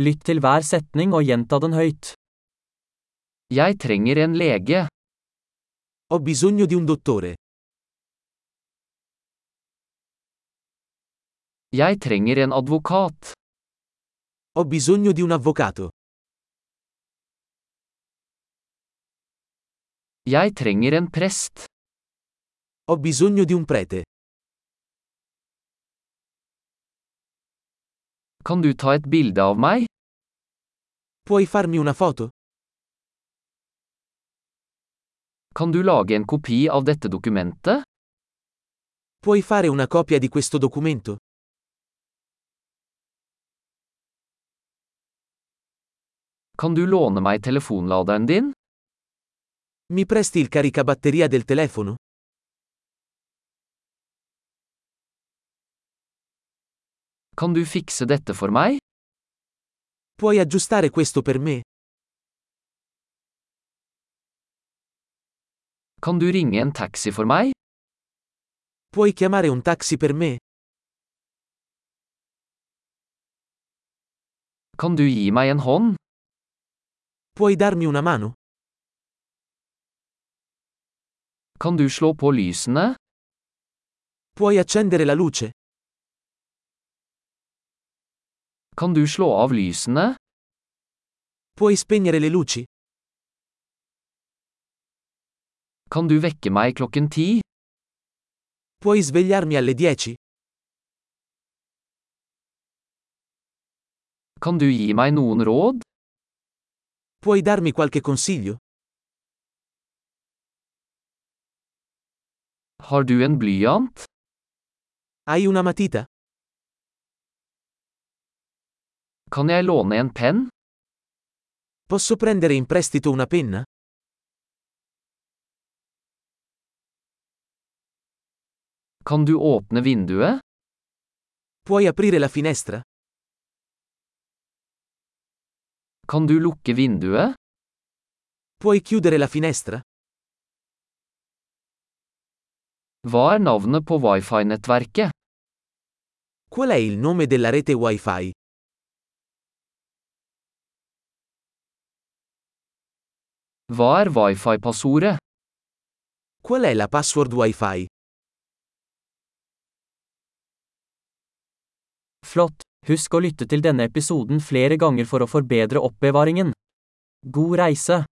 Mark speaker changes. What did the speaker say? Speaker 1: Lytt til hver setning og gjenta den høyt.
Speaker 2: Jeg trenger en lege.
Speaker 3: Ho bisogno di un dottore.
Speaker 2: Jeg trenger en advokat.
Speaker 3: Ho bisogno di un avvocato.
Speaker 2: Jeg trenger en prest.
Speaker 3: Ho bisogno di un prete.
Speaker 2: Kan du ta et bilde av meg?
Speaker 3: Puoi farmi una foto?
Speaker 2: Kan du lage en kopi av dette dokumentet?
Speaker 3: Puoi fare una copia di questo documento?
Speaker 2: Kan du låne meg telefonladeren din?
Speaker 3: Mi presti il caricabatteria del telefono?
Speaker 2: Kan du fikse dette for meg?
Speaker 3: Puoi aggiustare questo per me?
Speaker 2: Kan du ringe en taxi for meg?
Speaker 3: Puoi chiamare un taxi per me?
Speaker 2: Kan du gi meg en hånd?
Speaker 3: Puoi darmi una mano?
Speaker 2: Kan du slå på lysene?
Speaker 3: Puoi accendere la luce?
Speaker 2: Kan du slå av lysene?
Speaker 3: Puoi spegnere le luci?
Speaker 2: Kan du vekke meg klokken ti?
Speaker 3: Puoi svegliarmi alle 10?
Speaker 2: Kan du gi meg noen råd?
Speaker 3: Puoi darmi qualche consiglio?
Speaker 2: Har du en blyant?
Speaker 3: Hai una matita?
Speaker 2: Kan jeg låne en penn?
Speaker 3: Posso prendere in prestito una penna?
Speaker 2: Kan du åpne vinduet?
Speaker 3: Puoi aprire la finestra?
Speaker 2: Kan du lukke vinduet?
Speaker 3: Puoi chiudere la finestra?
Speaker 2: Hva er navnet på wifi-nettverket?
Speaker 3: Qual è il nome della rete Wi-Fi?
Speaker 2: Hva er wifi-passordet?
Speaker 3: Qual è la password Wi-Fi?
Speaker 1: Flott! Husk å lytte til denne episoden flere ganger for å forbedre oppbevaringen. God reise!